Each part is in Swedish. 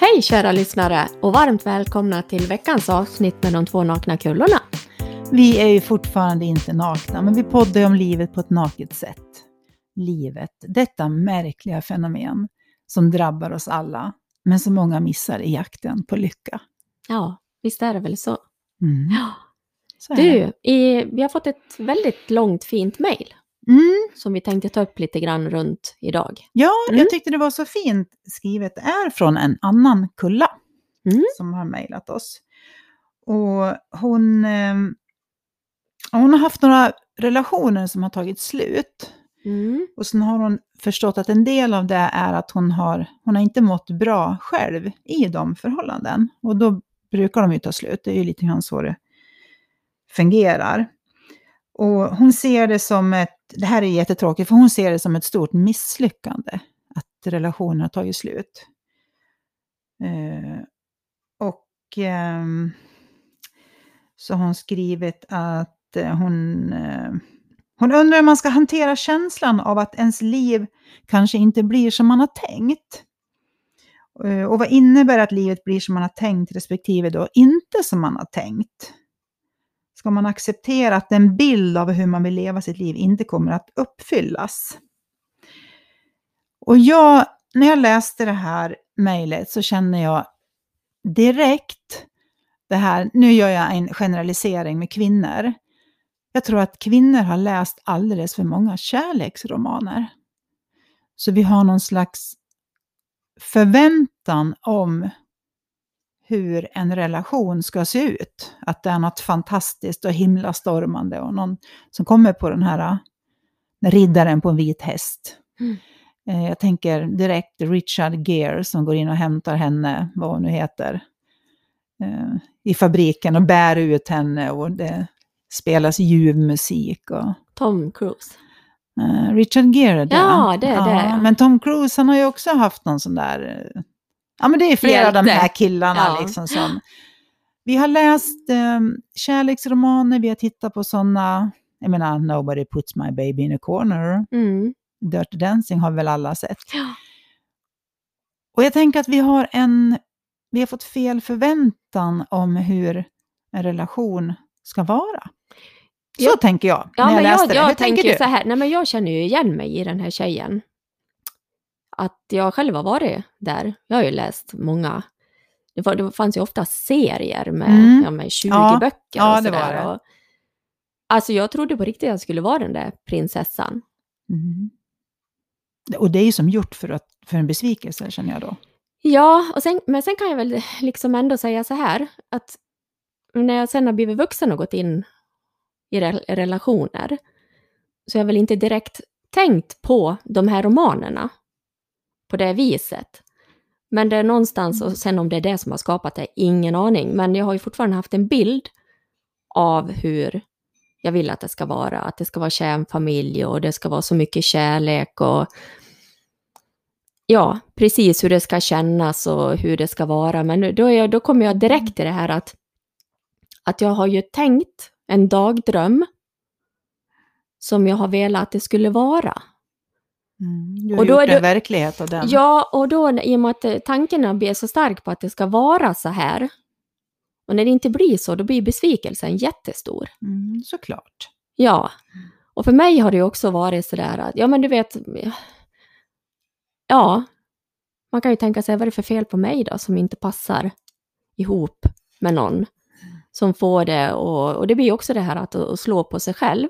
Hej kära lyssnare och varmt välkomna till veckans avsnitt med de två nakna kullorna. Vi är ju fortfarande inte nakna, men vi poddar ju om livet på ett naket sätt. Livet, detta märkliga fenomen som drabbar oss alla, men som många missar i jakten på lycka. Ja, visst är det väl så? Mm. Ja. så är det. Du, i, vi har fått ett väldigt långt fint mejl Mm. som vi tänkte ta upp lite grann runt idag. Ja, Mm. jag tyckte det var så fint skrivet. Det är från en annan kulla Mm. som har mejlat oss. Och hon, eh, hon har haft några relationer som har tagit slut. Mm. Och sen har hon förstått att en del av det är att hon har, hon har inte mått bra själv i de förhållanden. Och då brukar de ju ta slut, det är ju lite grann så det fungerar. Och hon ser det som ett, det här är jättetråkigt, för hon ser det som ett stort misslyckande att relationen har tagit slut. Eh, och ehm, så har hon skrivit att eh, hon eh, hon undrar hur man ska hantera känslan av att ens liv kanske inte blir som man har tänkt. Eh, Och vad innebär att livet blir som man har tänkt respektive då inte som man har tänkt? Ska man acceptera att den bild av hur man vill leva sitt liv inte kommer att uppfyllas? Och jag, när jag läste det här mejlet så känner jag direkt det här, nu gör jag en generalisering med kvinnor, jag tror att kvinnor har läst alldeles för många kärleksromaner. Så vi har någon slags förväntan om hur en relation ska se ut. Att det är något fantastiskt och himlastormande och någon som kommer på den här eh, riddaren på en vit häst. Mm. Eh, Jag tänker direkt Richard Gere som går in och hämtar henne, vad hon nu heter, eh, i fabriken och bär ut henne och det spelas ljuv musik. Och, Tom Cruise. eh, Richard Gere är det. Ja, det är det, ja. Men Tom Cruise han har ju också haft någon sån där... eh, Ja, men det är flera av de Hjälte. här killarna Ja. liksom som... Vi har läst eh, kärleksromaner, vi har tittat på sådana... Jag menar, Nobody puts my baby in a corner. Mm. Dirty Dancing har väl alla sett. Ja. Och jag tänker att vi har, en, vi har fått fel förväntan om hur en relation ska vara. Så Ja. tänker jag Ja, när jag men jag, läste jag, det. Hur tänker, tänker du? så här, nej men jag känner ju igen mig i den här tjejen. Att jag själv har varit där. Jag har ju läst många. Det, var, det fanns ju ofta serier med, Mm. ja, med 20 Ja, böcker och ja, det sådär. var det. Och, alltså jag trodde på riktigt att jag skulle vara den där prinsessan. Mm. Och det är ju som gjort för, att, för en besvikelse, känner jag då. Ja, och sen, men sen kan jag väl liksom ändå säga så här att när jag sen har blivit vuxen och gått in i re- relationer så har jag väl inte direkt tänkt på de här romanerna på det viset. Men det är någonstans, och sen om det är det som har skapat det, ingen aning. Men jag har ju fortfarande haft en bild av hur jag vill att det ska vara. Att det ska vara kärnfamilj och det ska vara så mycket kärlek och Ja, precis hur det ska kännas och hur det ska vara. Men nu- då, är jag, då kommer jag direkt till det här att, att jag har ju tänkt en dagdröm som jag har velat att det skulle vara. Mm. Du har Och och då då är gjort det- en verklighet av den. Ja, och då när- i och med att eh, tanken blir så stark på att det ska vara så här och när det inte blir så, då blir besvikelsen jättestor. Mm, såklart. Ja. Och för mig har det ju också varit sådär att, ja men du vet, ja, man kan ju tänka sig, vad är det för fel på mig då som inte passar ihop med någon som får det och, och det blir ju också det här att, att slå på sig själv.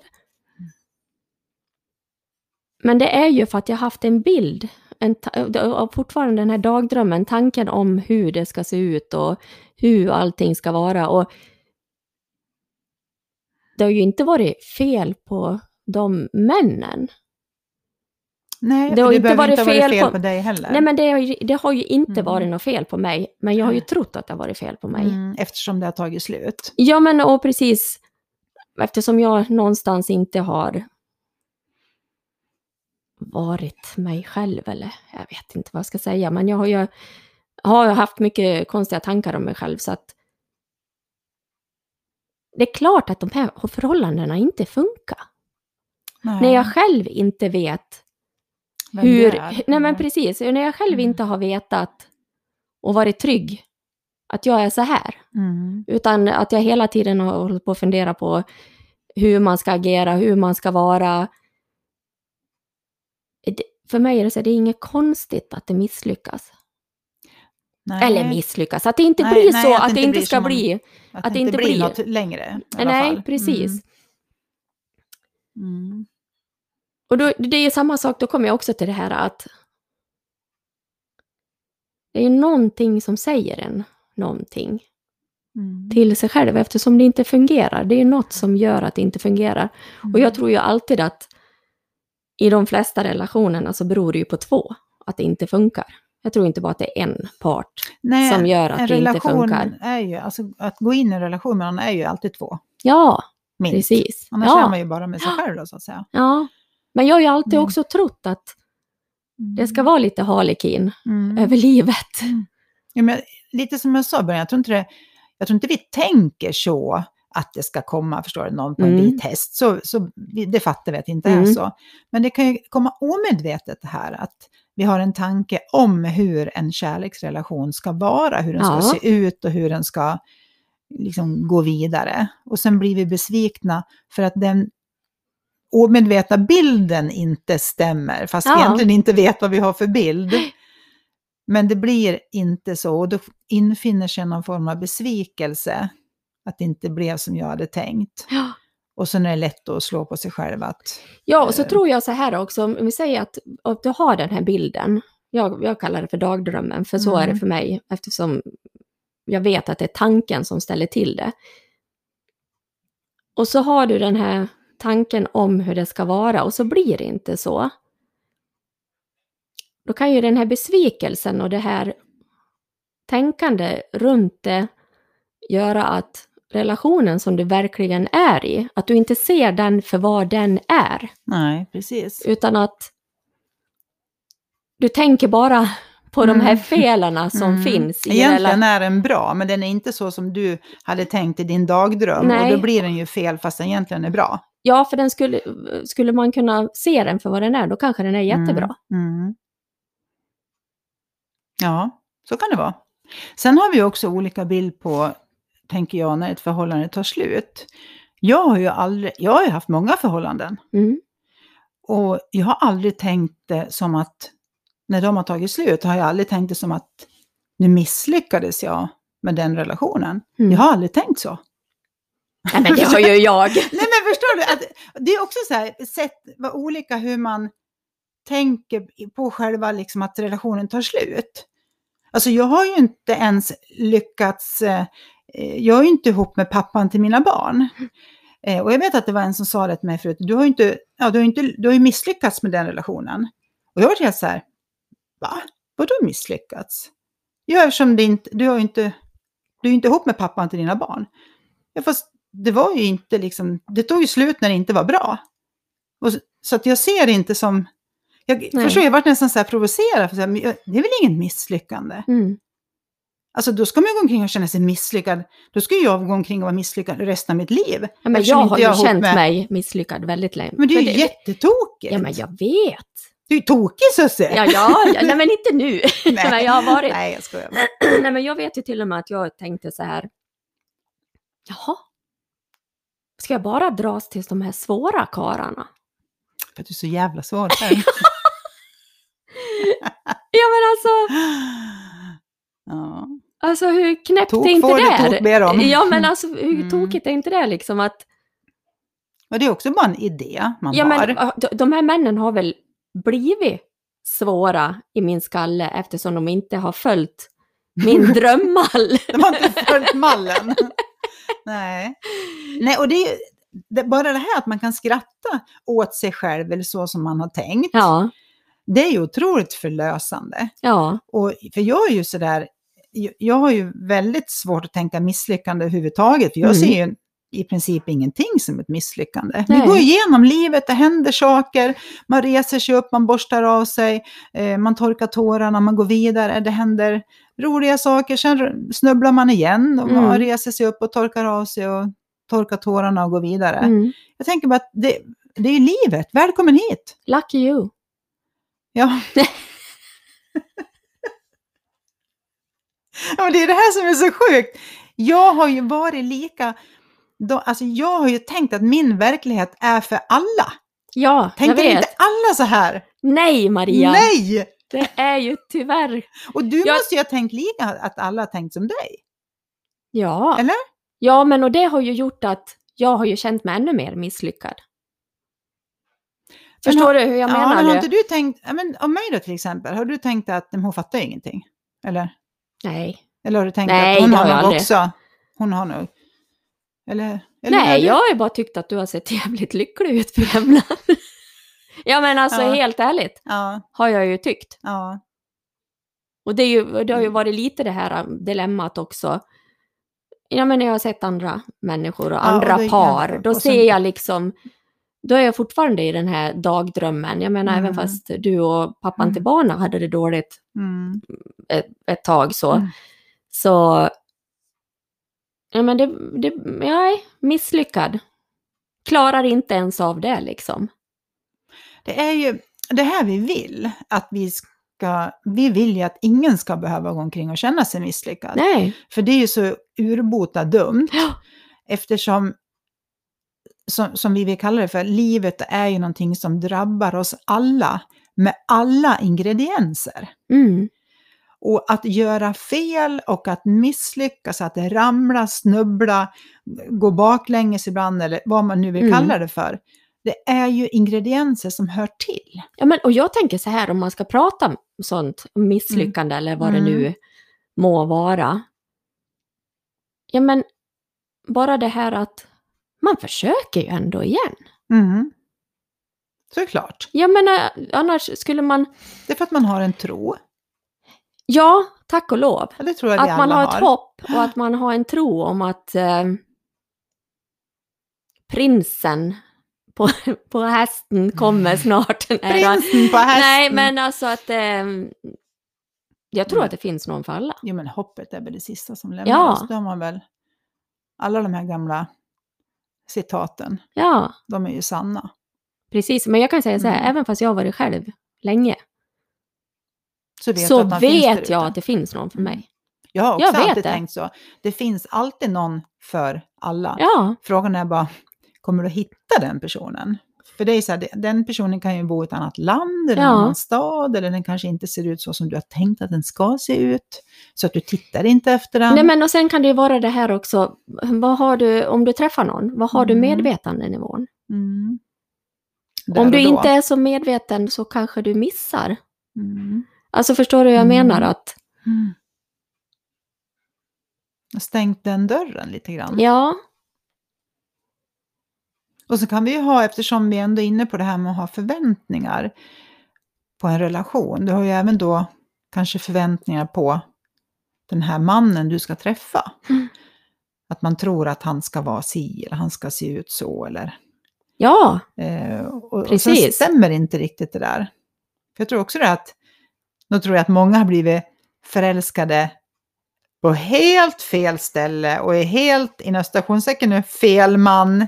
Men det är ju för att jag haft en bild, en, ta- och fortfarande den här dagdrömmen, tanken om hur det ska se ut och hur allting ska vara. Och det har ju inte varit fel på de männen. Nej, Det för det har inte behöver inte varit ha varit fel fel, på- på... dig heller. Nej, men det har ju, det har ju inte Mm. varit något fel på mig, men jag har ju Nej. trott att det har varit fel på mig. mm, eftersom det har tagit slut. Ja, men och precis, eftersom jag någonstans inte har varit mig själv, eller jag vet inte vad jag ska säga, men jag har ju har ju haft mycket konstiga tankar om mig själv, så att det är klart att de här förhållandena inte funkar. Nej, När jag själv inte vet vem hur... det är. liksom. Nej men precis, när jag själv Mm. inte har vetat och varit trygg att jag är så här. Mm. Utan att jag hela tiden har hållit på att fundera på hur man ska agera, hur man ska vara. Det- För mig är det så här, det är inget konstigt att det misslyckas. Nej. Eller misslyckas, att det inte Nej, blir nej, så, att att, det det inte inte blir ska som man- bli. Att, att det inte blir något längre. i alla Nej, fall. precis. Mm. Mm. Och då, det är ju samma sak, då kommer jag också till det här att det är ju någonting som säger en någonting Mm. till sig själv eftersom det inte fungerar. Det är ju något som gör att det inte fungerar. mm. Och jag tror ju alltid att i de flesta relationerna så beror det ju på två, att det inte funkar. Jag tror inte bara att det är en part Nej, som gör att Eh, en det inte relation funkar. är ju, alltså att gå in i en relation med någon är ju alltid två, Ja, minst. precis. Annars ja, är man ju bara med sig själv då, så att säga. ja. Men jag har ju alltid Mm. också trott att Mm. det ska vara lite harlekin Mm. över livet. Ja, men lite som jag sa i början, jag tror inte, det, jag tror inte vi tänker så att det ska komma, förstår du, någon på en Mm. vit häst. Så, så vi, det fattar vi att det inte är Mm. så. Men det kan ju komma omedvetet det här att vi har en tanke om hur en kärleksrelation ska vara, hur den ska Ja. se ut och hur den ska liksom gå vidare. Och sen blir vi besvikna för att den omedvetna bilden inte stämmer, fast Ja. vi egentligen inte vet vad vi har för bild. Men det blir inte så och då infinner sig någon form av besvikelse. Att det inte blev som jag hade tänkt. Ja. Och sen är det lätt att slå på sig själv att... Ja, och så Eh. tror jag så här också, om vi säger att, att du har den här bilden, jag, jag kallar det för dagdrömmen, för så är Mm. det för mig, eftersom jag vet att det är tanken som ställer till det. Och så har du den här tanken om hur det ska vara och så blir det inte så. Då kan ju den här besvikelsen och det här tänkande runt det göra att relationen som du verkligen är i, att du inte ser den för vad den är. Nej, precis. Utan att du tänker bara på de här Mm. felen som Mm. finns. I Egentligen rela- är den bra, men den är inte så som du hade tänkt i din dagdröm. Nej. Och då blir den ju fel fast den egentligen är bra. ja, för den skulle, skulle man kunna se den för vad den är, då kanske den är jättebra. Mm. Mm. Ja, så kan det vara. Sen har vi ju också olika bild på, tänker jag, när ett förhållande tar slut. Jag har ju aldrig, jag har ju haft många förhållanden. Mm. Och jag har aldrig tänkt det som att, när de har tagit slut, har jag aldrig tänkt det som att nu misslyckades jag med den relationen. Mm. Jag har aldrig tänkt så. Nej, men det har ju jag. Nej men förstår du? Att det är också så här, sätt, vad olika hur man tänker på själva liksom att relationen tar slut. Alltså jag har ju inte ens lyckats, eh, eh, jag är ju inte ihop med pappan till mina barn. Eh, och jag vet att det var en som sa det till mig förut, du har ju inte, ja, du har ju inte, du har ju misslyckats med den relationen. Och jag var helt så här, va? Vadå misslyckats? Ja, eftersom det inte, du har ju inte, du är ju inte ihop med pappan till dina barn. Ja, fast det var ju inte liksom, det tog ju slut när det inte var bra. Och, så- så att jag ser det inte som, jag Nej. förstår, jag vart nästan så här provocerad, för så här, men jag, det är väl inget misslyckande? Mm. Alltså då ska man ju gå omkring och känna sig misslyckad, då ska ju jag gå omkring och vara misslyckad resten av mitt liv. Ja, men Eftersom jag inte har ju har ihop känt med- mig misslyckad väldigt länge. Men det är ju För jättetokigt! Ja, men jag vet. Du är ju tokig Susie! Ja, ja, ja. Nej, men inte nu. Nej. men jag har varit. Nej, jag skojar. Nej, men jag vet ju till och med att jag tänkte så här. Jaha. Ska jag bara dras till de här svåra kararna? För att du är så jävla svår själv. Ja, men alltså. ja. Alltså hur knäppt Tok är inte får det? du, tok ber om. Ja, men alltså hur Mm. tokigt är inte det liksom att... Och det är också bara en idé man Ja, har. men äh, de- de här männen har väl blivit svåra i min skalle eftersom de inte har följt min drömmall. De har inte följt mallen. Nej. Nej, och det är ju det, bara det här att man kan skratta åt sig själv eller så som man har tänkt. Ja, Det är ju otroligt förlösande. ja, Och, för jag är ju sådär, jag- jag har ju väldigt svårt att tänka misslyckande överhuvudtaget. För jag Mm. ser ju i princip ingenting som ett misslyckande. Vi Nej. går igenom livet, det händer saker, man reser sig upp, man borstar av sig, eh, man torkar tårarna, man går vidare, det händer roliga saker, sen snubblar man igen och man Mm. reser sig upp och torkar av sig och torkar tårarna och går vidare. mm. Jag tänker bara att det, det är ju livet, välkommen hit! lucky you. Ja. det är det här som är så sjukt. Jag har ju varit lika... Då, alltså jag har ju tänkt att min verklighet är för alla. Ja, jag Tänker vet. inte alla så här? Nej, Maria. Nej! Det är ju tyvärr... Och du Jag- måste ju ha tänkt lika, att alla har tänkt som dig. Ja. Eller? Ja, men och det har ju gjort att jag har ju känt mig ännu mer misslyckad. Men Förstår har- du hur jag ja, menar men har nu? inte du tänkt, ja, men om mig då till exempel, har du tänkt att men hon fattar ju ingenting? Eller, Nej. eller har du tänkt Nej, att hon det har jag har nog aldrig. också, hon har nog, eller? eller har Nej, du- jag har ju bara tyckt att du har sett jävligt lycklig ut för jävla. ja, men alltså Ja. helt ärligt Ja, har jag ju tyckt. ja, Och det, är ju, det har ju Mm. varit lite det här um, dilemmat också. Ja, men när jag har sett andra människor och och andra det är par, jämfört då och sen- ser jag liksom... Då är jag fortfarande i den här dagdrömmen. Jag menar, Mm. även fast du och pappan Mm. till barnen hade det dåligt mm, ett tag så. Mm. Så... Ja, men det... det jag är misslyckad. Klarar inte ens av det liksom. det är ju det här vi vill, att vi ska, vi vill ju att ingen ska behöva gå omkring och känna sig misslyckad. Nej. För det är ju så urbota dumt. Ja. Eftersom, som, som vi vill kalla det för, livet är ju någonting som drabbar oss alla med alla ingredienser. Mm. Och att göra fel och att misslyckas, att ramla, snubbla, gå baklänges ibland eller vad man nu vill Mm. kalla det för. Det är ju ingredienser som hör till. Ja, men, och jag tänker så här, om man ska prata om sånt om misslyckande eller vad det Mm. nu må vara. Ja, men bara det här att man försöker ju ändå igen. Mm. Såklart. Jag menar, eh, annars skulle man... Det är för att man har en tro. Ja, tack och lov. Ja, Det tror jag vi Att man alla har ett hopp och att man har en tro om att eh, prinsen på, på hästen kommer snart. Nej, då. Prinsen på hästen. Nej, men alltså att... Eh, jag tror Mm. att det finns någon för alla. Jo, men hoppet är väl det sista som lämnar Ja. oss. Då har man väl... Alla de här gamla citaten, Ja, de är ju sanna. precis. Men jag kan säga så här, Mm. även fast jag har varit själv länge, Så vet, så jag att de finns där vet ute. jag att det finns någon för Mm. mig. Jag har också Jag vet alltid det. tänkt så. Det finns alltid någon för alla. Ja, Frågan är bara, kommer du hitta den personen? För det är så här, det- den personen kan ju bo i ett annat land eller en Ja. annan stad eller den kanske inte ser ut så som du har tänkt att den ska se ut. Så att du tittar inte efter den. Nej, men och sen kan det ju vara det här också, hm, vad har du, om du träffar någon, vad har du Mm. medvetandenivån? Mm. Där Om och du då. inte är så medveten så kanske du missar. Mm. Alltså förstår du hur jag Mm. menar? Att, Mm. Stängt den dörren lite grann. ja, Och så kan vi ju ha, eftersom vi ändå är inne på det här med att ha förväntningar på en relation, du har ju även då kanske förväntningar på den här mannen du ska träffa. Mm. Att man tror att han ska vara si eller han ska se ut så eller... ja, Eh, och, och sen Precis. stämmer inte riktigt det där. För jag tror också det att, då tror jag att många har blivit förälskade på helt fel ställe och är helt, inom stationstecken nu, fel man,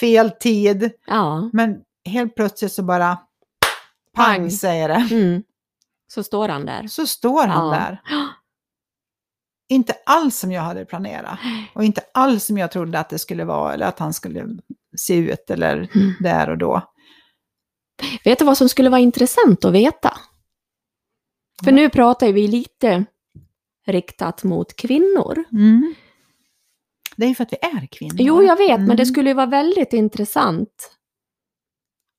fel tid. ja, Men helt plötsligt så bara pang, Pang. säger det. mm. så står han där. Så står han Ja. där. Inte alls som jag hade planerat. Och inte alls som jag trodde att det skulle vara eller att han skulle se ut eller Mm. där och då. Vet du vad som skulle vara intressant att veta? För Ja. nu pratar ju vi lite riktat mot kvinnor. Mm. Det är ju för att vi är kvinnor. Jo, jag vet, men Mm. det skulle ju vara väldigt intressant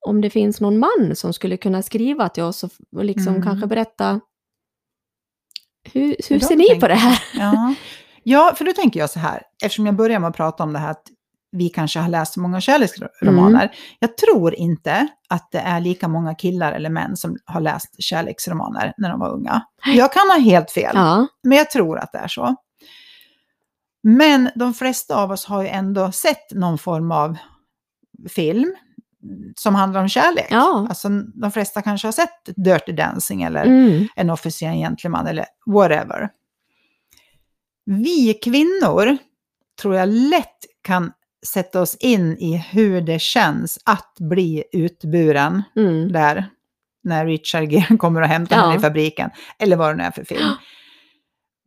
om det finns någon man som skulle kunna skriva till oss och f- och liksom Mm. kanske berätta hur, Hur hur de ser ni tänker. på det här? Ja. ja, för då tänker jag så här, eftersom jag börjar med att prata om det här att vi kanske har läst många kärleksromaner. Mm. Jag tror inte att det är lika många killar eller män som har läst kärleksromaner när de var unga. Jag kan ha helt fel, Ja, men jag tror att det är så. Men de flesta av oss har ju ändå sett någon form av film som handlar om kärlek. Ja. Alltså, de flesta kanske har sett Dirty Dancing eller mm. en officer, en gentleman eller whatever. Vi kvinnor tror jag lätt kan sätta oss in i hur det känns att bli utburen Mm. där när Richard Gere kommer och hämtar Ja. henne i fabriken, eller vad det nu är för film.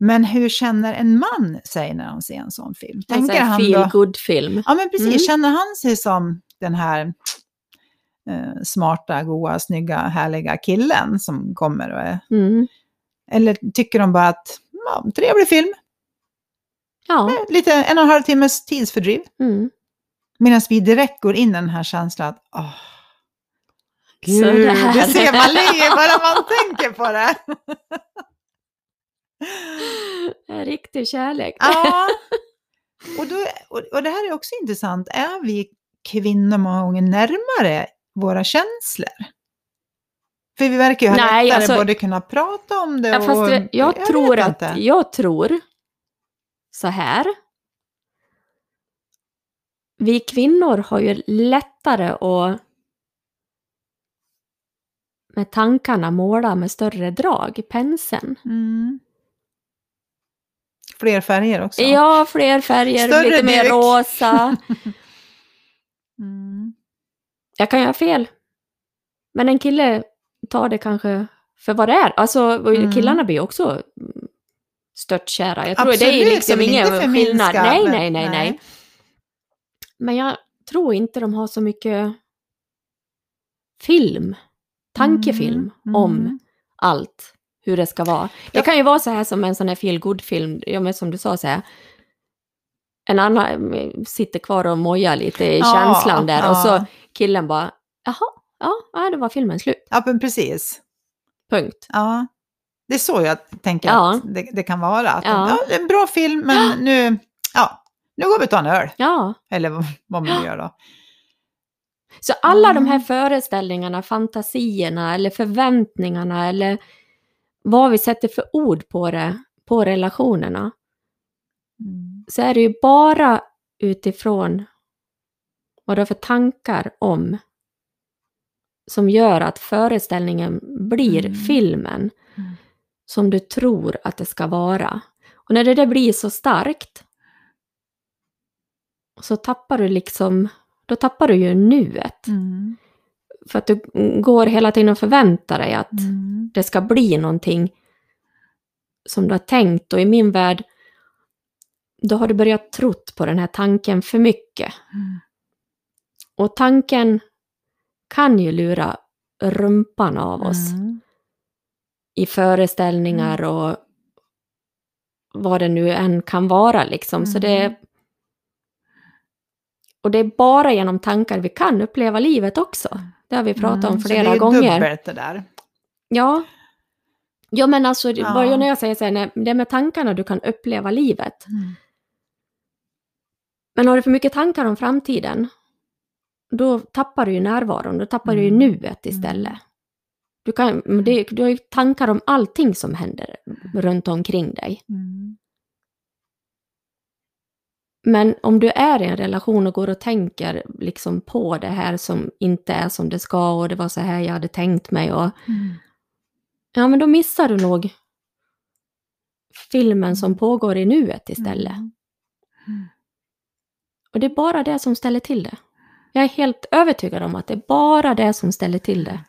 Men hur känner en man sig när han ser en sån film? Tänker Alltså en han feel då, good film ja, men precis, Mm. känner han sig som den här eh, smarta, goa, snygga, härliga killen som kommer och är... mm. Eller tycker de bara att, ja, trevlig film, Ja. lite en och en halv timmes tidsfördriv. Mm. Medan vi direkt går in i den här känslan att, åh, Så gud, det här- det ser man ler bara man tänker på det. En Riktig kärlek. Ja. Och, då, och, och det här är också intressant. Är vi kvinnor många gånger närmare våra känslor? För vi verkar ju ha Nej, lättare alltså- både kunna prata om det Ja, och... fast jag, jag tror vet att, inte. jag tror så här. Vi kvinnor har ju lättare att med tankarna måla med större drag i penseln. Mm. Fler färger också. Ja, fler färger, Större lite mer direkt. rosa. Mm. Jag kan göra fel. Men en kille tar det kanske för vad det är. Alltså, och Mm. killarna blir ju också mm, störtkära. Jag tror det Absolut, är liksom jag vill ingen inte förminska, skillnad. Nej, men- nej, nej, nej. Men jag tror inte de har så mycket film, tankefilm Mm, om mm. allt, hur det ska vara. Det Ja. kan ju vara så här som en sån här feel good film ja men som du sa så här. En annan eh, sitter kvar och mojar lite i Ja, känslan där och ja. så killen bara, jaha, ja, ja, då var filmen slut, Ja, men precis. punkt. Ja. Det är så jag tänker Ja. att det, det kan vara. Att Ja. ja. det är en bra film, men nu, ja, nu går vi och tar en öl. Ja, Eller vad- vad man nu gör då. så alla de här Mm. föreställningarna, fantasierna eller förväntningarna eller vad vi sätter för ord på det, på relationerna, Mm. så är det ju bara utifrån vad du har för tankar om som gör att föreställningen blir Mm. filmen Mm. som du tror att det ska vara. Och när det där blir så starkt så tappar du liksom, då tappar du ju nuet. Mm. För att du går hela tiden och förväntar dig att Mm. det ska bli någonting som du har tänkt. Och i min värld, då har du börjat trott på den här tanken för mycket. Mm. Och tanken kan ju lura rumpan av oss Mm. i föreställningar och vad det nu än kan vara liksom. Så Mm. det, och det är bara genom tankar vi kan uppleva livet också. Det har vi pratat om Mm, flera så det är gånger. dubbelt det där. Ja. Ja men alltså, det- vad Ja. jag när jag säger så här, nej, det är med tankarna du kan uppleva livet. Men har du för mycket tankar om framtiden, då tappar du ju närvaron, då tappar du ju Mm. nuet istället. Du, kan, men det, du har ju tankar om allting som händer runt omkring dig. Mm. Men om du är i en relation och går och tänker liksom på det här som inte är som det ska och det var så här jag hade tänkt mig och Mm. Ja, men då missar du nog filmen som pågår i nuet istället. Mm. Och det är bara det som ställer till det. Jag är helt övertygad om att det är bara det som ställer till det.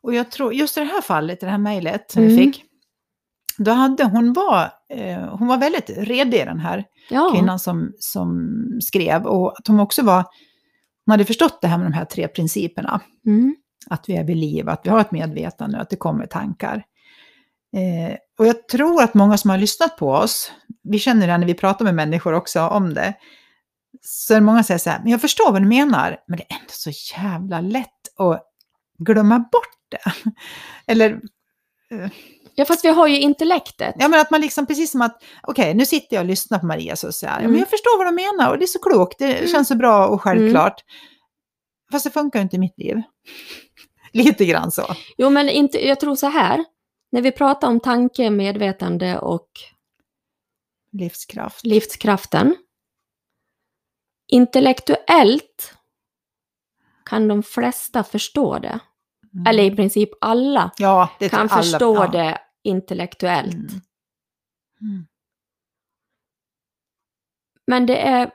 Och jag tror, just i det här fallet, i det här mejlet som vi Mm. fick, då hade hon var, eh, hon var väldigt redig den här Ja, kvinnan som, som skrev. Och att hon också var, hon hade förstått det här med de här tre principerna. mm. Att vi är vid liv, att vi har ett medvetande och att det kommer tankar. Eh, och jag tror att många som har lyssnat på oss, vi känner det när vi pratar med människor också om det, så är det många som säger så här, men jag förstår vad du menar, men det är ändå så jävla lätt att glömma bort det. Eller, ja fast vi har ju intellektet. ja men att man liksom, precis som att, okej, nu sitter jag och lyssnar på Maria så säger jag, Mm. men jag förstår vad de menar och det är så klokt, det Mm. känns så bra och självklart. Fast det funkar ju inte i mitt liv. Lite grann så. Jo, men inte, jag tror så här. När vi pratar om tanke, medvetande och Livskraft. livskraften. Intellektuellt kan de flesta förstå det. Mm. Eller i princip alla ja, det tror kan alla- förstå ja. det intellektuellt. Mm. Mm. Men det är...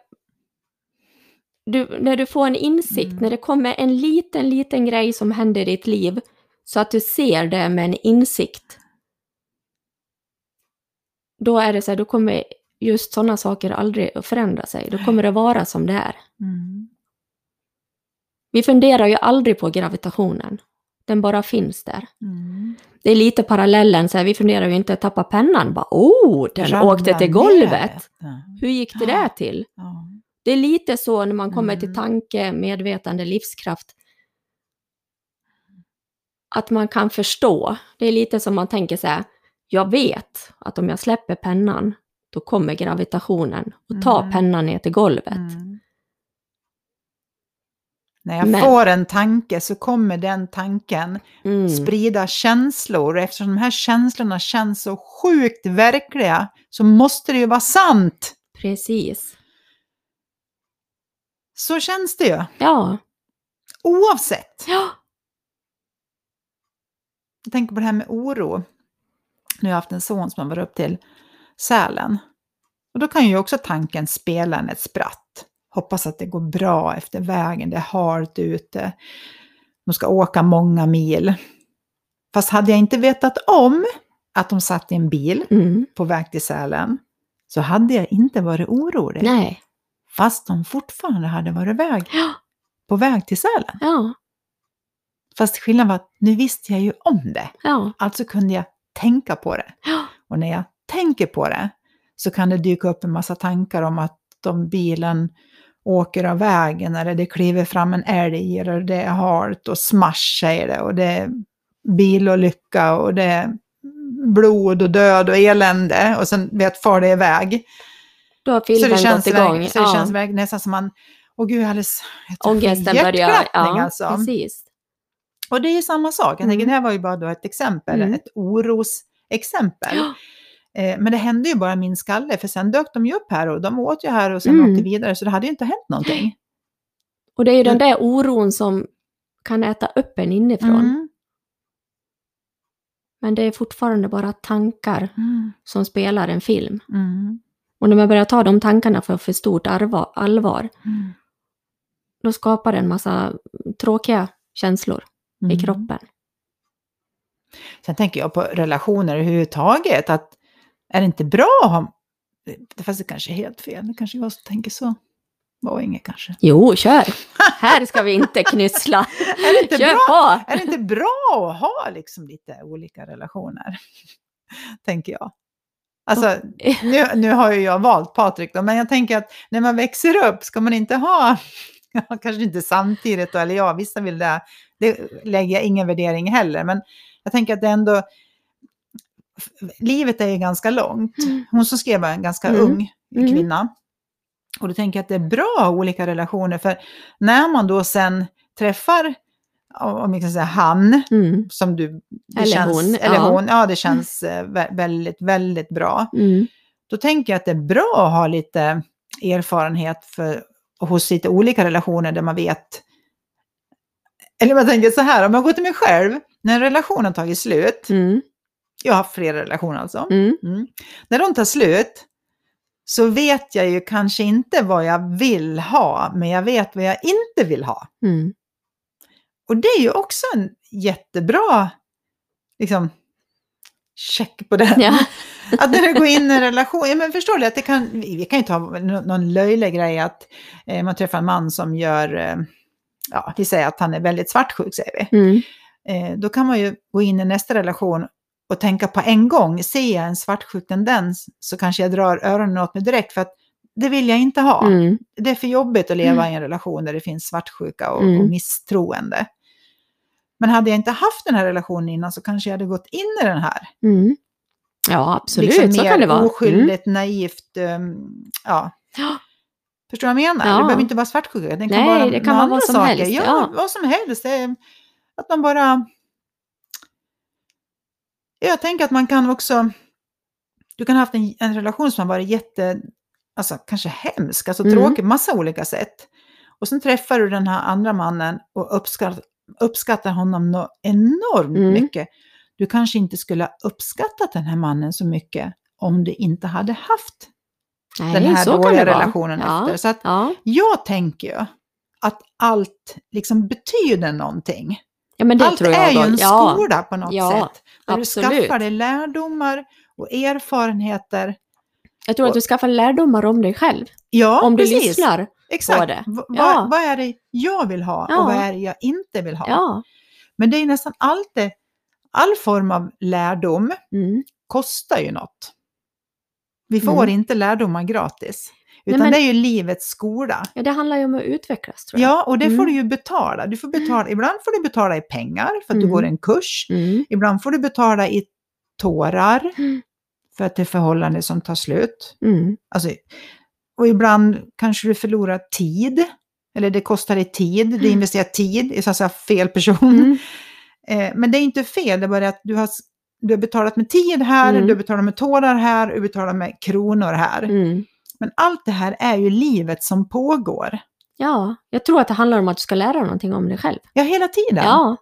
Du, när du får en insikt, Mm. när det kommer en liten, liten grej som händer i ditt liv, så att du ser det med en insikt, då är det så här, då kommer just sådana saker aldrig att förändra sig. Då kommer det vara som det är. Mm. Vi funderar ju aldrig på gravitationen. Den bara finns där. Mm. Det är lite parallellen, så här, vi funderar ju inte att tappa pennan, bara oh, den Ramla åkte till ner. golvet. Ja. Hur gick det där till? Ja. Det är lite så när man kommer till Mm. tanke, medvetande, livskraft. Att man kan förstå. Det är lite som man tänker så här, jag vet att om jag släpper pennan, då kommer gravitationen och tar Mm. pennan ner till golvet. Mm. När jag Men- får en tanke så kommer den tanken Mm. sprida känslor. Och Eftersom de här känslorna känns så sjukt verkliga så måste det ju vara sant. Precis. Så känns det ju, Ja. oavsett. ja. Jag tänker på det här med oro. Nu har jag haft en son som har varit upp till Sälen. Och då kan ju också tanken spela en ett spratt. Hoppas att det går bra efter vägen, det är halt ute. De ska åka många mil. Fast hade jag inte vetat om att de satt i en bil Mm. på väg till Sälen så hade jag inte varit orolig. Nej. Fast de fortfarande hade varit väg, Ja. på väg till Sälen. Ja. Fast skillnaden var att nu visste jag ju om det. Ja. Alltså kunde jag tänka på det. Ja. Och när jag tänker på det så kan det dyka upp en massa tankar om att de bilen åker av vägen eller det kliver fram en älg eller det är halt och smash säger det och det är bilolycka och det är blod och död och elände och sen vet far det är väg. Då har Så filmen det gått känns, igång. verk- så det känns verk- nästan som man, åh gud jag är alldeles, jag tror Ångesten jag får börjar. hjärtklappning Ja, alltså. precis. Och det är ju samma sak. Jag tänker, Mm. det här var ju bara då ett exempel, Mm. ett orosexempel. Ja. Eh, Men det hände ju bara i min skalle, för sen dök de ju upp här och de åt ju här och sen Mm. åkte vidare, så det hade ju inte hänt någonting. Och det är ju den där oron som kan äta upp en inifrån. Mm. Men det är fortfarande bara tankar Mm. som spelar en film. Mm. Och när man börjar ta de tankarna för för stort arva- allvar, Mm. då skapar det en massa tråkiga känslor i kroppen. Mm. Sen tänker jag på relationer överhuvudtaget, att är det inte bra att ha... Fast det kanske är helt fel, det kanske är jag som tänker så. Var inget kanske. Jo, kör! Här ska vi inte knyssla. Är det inte kör bra? på! Är det inte bra att ha liksom lite olika relationer? tänker jag. Alltså, nu, nu har ju jag valt Patrik då, men jag tänker att när man växer upp ska man inte ha, ja, kanske inte samtidigt då, eller ja, vissa vill det, det lägger jag ingen värdering heller, men jag tänker att det ändå, livet är ju ganska långt. Mm. Hon som skrev var en ganska Mm. ung Mm. kvinna. Och då tänker jag att det är bra att ha olika relationer, för när man då sen träffar, om vi kan säga han, Mm. som du... Det Eller känns, hon, Eller ja. hon, ja det känns eh, vä- väldigt, väldigt bra. Mm. Då tänker jag att det är bra att ha lite erfarenhet för, hos lite olika relationer där man vet... Eller jag tänker så här, om jag går till mig själv, när relationen har tagit slut, Mm. jag har haft flera relationer alltså, Mm. Mm. När de tar slut så vet jag ju kanske inte vad jag vill ha, men jag vet vad jag inte vill ha. Mm. Och det är ju också en jättebra liksom, check på det. Ja. Att när du går in i en relation, ja, men förstår du att det kan, vi vi kan ju ta nå- någon löjlig grej att eh, man träffar en man som gör, eh, ja vi säger att han är väldigt svartsjuk säger vi. Mm. Eh, då kan man ju gå in i nästa relation och tänka på en gång, ser jag en svartsjuk tendens så kanske jag drar öronen åt mig direkt för att det vill jag inte ha Mm. det är för jobbigt att leva i en relation där det finns svartsjuka och, Mm. och misstroende. Men hade jag inte haft den här relationen innan så kanske jag hade gått in i den här. Mm. Ja, absolut, så Liksom mer kan det vara. Mm. oskyldigt, naivt. ehm, ja. Ja. Förstår du vad jag menar? Ja. Det behöver inte vara svartsjuka. Den kan Nej, vara det kan med vara andra vad som saker. helst, Ja, ja. vad som helst. Det är- Att man bara... Jag tänker att man kan också... Du kan ha haft en, en relation som har varit jätte... Alltså kanske hemsk, alltså Mm. tråkig, massa olika sätt. Och sen träffar du den här andra mannen och uppskattar, uppskattar honom nå enormt Mm. mycket. Du kanske inte skulle ha uppskattat den här mannen så mycket om du inte hade haft Mm. Nej, den här så kan dåliga det vara. relationen ja. efter. Så att Ja. jag tänker ju att allt liksom betyder någonting. ja, men det allt tror jag. är ju då. en ja. skola på något Ja, sätt. Där du absolut. skaffar dig lärdomar och erfarenheter. Jag tror att du skaffar lärdomar om dig själv. Ja, om du precis. lyssnar. Exakt. det. Va- va- Ja. Vad är det jag vill ha Ja. och vad är det jag inte vill ha? Ja. Men det är ju nästan alltid, all form av lärdom Mm. kostar ju något. Vi får Mm. inte lärdomar gratis. Nej, Utan men- det är ju livets skola. ja, det handlar ju om att utvecklas tror jag. Ja, och det Mm. får du ju betala. Du får betala. Ibland får du betala i pengar för att Mm. du går en kurs. Mm. Ibland får du betala i tårar Mm. för att det är förhållande som tar slut. Mm. Alltså, och ibland kanske du förlorar tid. Eller det kostar dig tid. Du Mm. investerar tid i så att säga fel person. Mm. Eh, men det är inte fel, det är bara att du har, s- du har betalat med tid här, Mm. du har betalat med tårar här, du har betalat med kronor här. Mm. Men allt det här är ju livet som pågår. Ja, jag tror att det handlar om att du ska lära dig någonting om dig själv. Ja, hela tiden. Ja,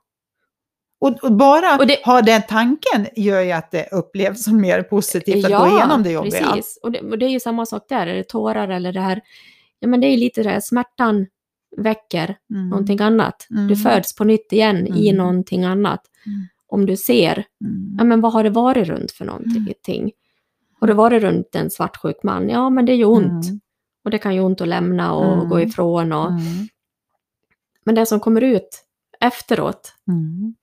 Och, och bara att Och det- ha den tanken gör ju att det upplevs som mer positivt att gå igenom det jobbiga. Precis. Och, det, och det är ju samma sak där, är det tårar eller det här, ja men det är ju lite det här, smärtan väcker Mm. någonting annat. Mm. Du föds på nytt igen i Mm. någonting annat. Mm. Om du ser, ja Mm. men vad har det varit runt för någonting? Har det varit runt en svartsjuk man? Ja men det gör ju ont. Mm. Och det kan ju ont att lämna och Mm. gå ifrån. Och, Mm. Men det som kommer ut efteråt Mm.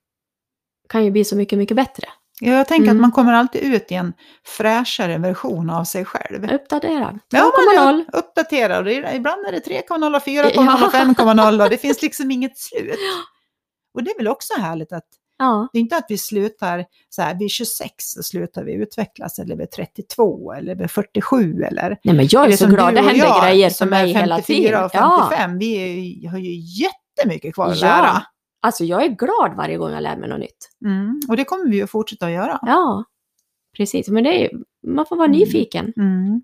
kan ju bli så mycket, mycket bättre. Ja, jag tänker Mm. att man kommer alltid ut i en fräschare version av sig själv. Uppdatera. 2,0. Ja, man är uppdaterad. Och det är- Ibland är det 3,0, 4,0, Ja. 5,0 och det finns liksom inget slut. Och det är väl också härligt att Ja, det är inte att vi slutar så här, vid 26 så slutar vi utvecklas eller vid 32 eller vid 47 eller... Nej men jag är eller så som glad, du det och händer jag, grejer för som mig är hela tiden. och 55. Ja, 55, vi är, ju- har ju jättemycket kvar att Ja. lära. alltså jag är glad varje gång jag lär mig något nytt. Mm. Och det kommer vi att fortsätta att göra. Ja, precis. Men det är ju, man får vara Mm. nyfiken Mm.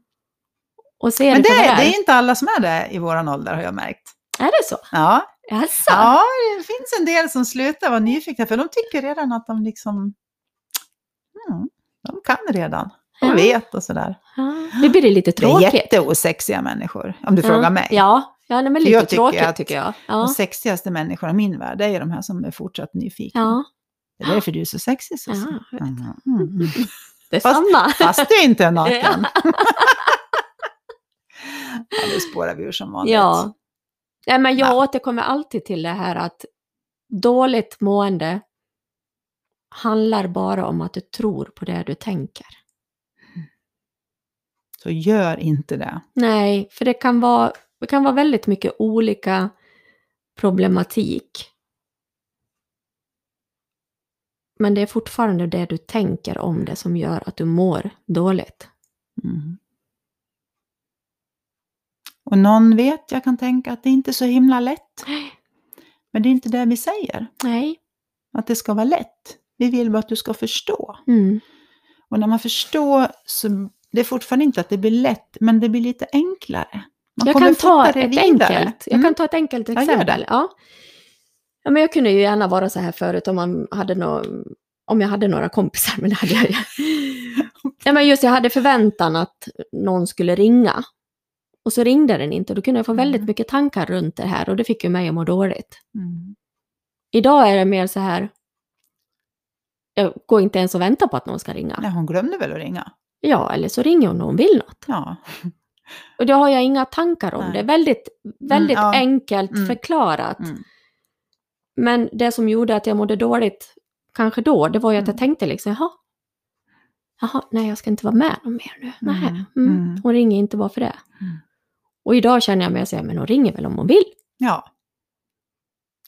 och se Men det, det, för vad det är inte alla som är det i våran ålder har jag märkt. Är det så? Ja, Alltså, Ja, det finns en del som slutar vara nyfikna för de tycker redan att de liksom... Mm, de kan redan. De Ja. vet och sådär. ja. det blir det lite Det är tråkigt. jätteosexiga människor, om du frågar mig. Ja, ja nej, men För lite jag tycker tråkigt att- tycker jag. De Ja. sexigaste människorna i min värld det är ju de här som är fortsatt nyfikna. Ja, Det är därför du är så sexig Susie. Ja, jag Mhm, mm. detsamma. Fast du inte är naken. Ja. ja, nu spårar vi ur som vanligt. Ja. Nej, men jag Ja. återkommer alltid till det här att dåligt mående handlar bara om att du tror på det du tänker. Så gör inte det. Nej, för det kan vara, det kan vara väldigt mycket olika problematik. Men det är fortfarande det du tänker om det som gör att du mår dåligt. Mm. Och någon vet, jag kan tänka att det är inte är så himla lätt. Men det är inte det vi säger, Nej. att det ska vara lätt. Vi vill bara att du ska förstå. Mm. Och när man förstår så det är fortfarande inte att det blir lätt, men det blir lite enklare. Man Jag kommer kan ta ett fortare enkelt. Jag Mm. kan ta ett enkelt gör det. exempel. Ja. Ja, men jag kunde ju gärna vara så här förut om, man hade nå, om jag hade några kompisar, men det hade jag ju. Ja, men just jag hade förväntan att någon skulle ringa. Och så ringde den inte. Då kunde jag få väldigt Mm. mycket tankar runt det här och det fick ju mig att må dåligt. Mm. Idag är det mer så här, jag går inte ens och väntar på att någon ska ringa. Nej, hon glömde väl att ringa? Ja, eller så ringer hon när hon vill något. Ja. Och då har jag inga tankar om Nej. Mm, det. Väldigt, väldigt ja. enkelt Mm. förklarat. Mm. Men det som gjorde att jag mådde dåligt kanske då, det var ju att jag Mm. tänkte liksom, jaha, jaha, nej jag ska inte vara med om mer nu. Nej. Mm, Mm. mm. Hon ringer inte bara för det. Mm. Och idag känner jag mig så här, men hon ringer väl om hon vill. Ja.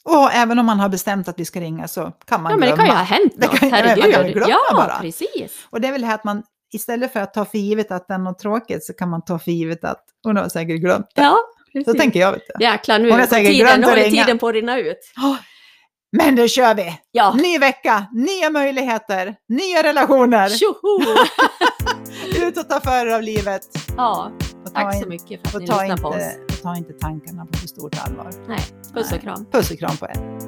Och även om man har bestämt att vi ska ringa så kan man ja men det glömma. kan ju ha hänt Det något, kan- man kan ju herregud. glömma Ja, bara. precis. Och det är väl det här att man istället för att ta för givet att den är något tråkigt så kan man ta för givet att hon har säkert glömt det. Ja, så precis. tänker jag. Vet du. Jäklar, nu Hon har är säkert tiden, glömt att håller ringa. tiden på att rinna ut. Åh, Men nu kör vi! Ja, Ny vecka, nya möjligheter, nya relationer. tjoho! Ut och ta för er av livet. Ja, Och ta, tack så in, mycket för att ni och ta, lyssnar inte, på oss. och ta inte tankarna på för stort allvar. Puss och Nej. kram. Puss och kram på er.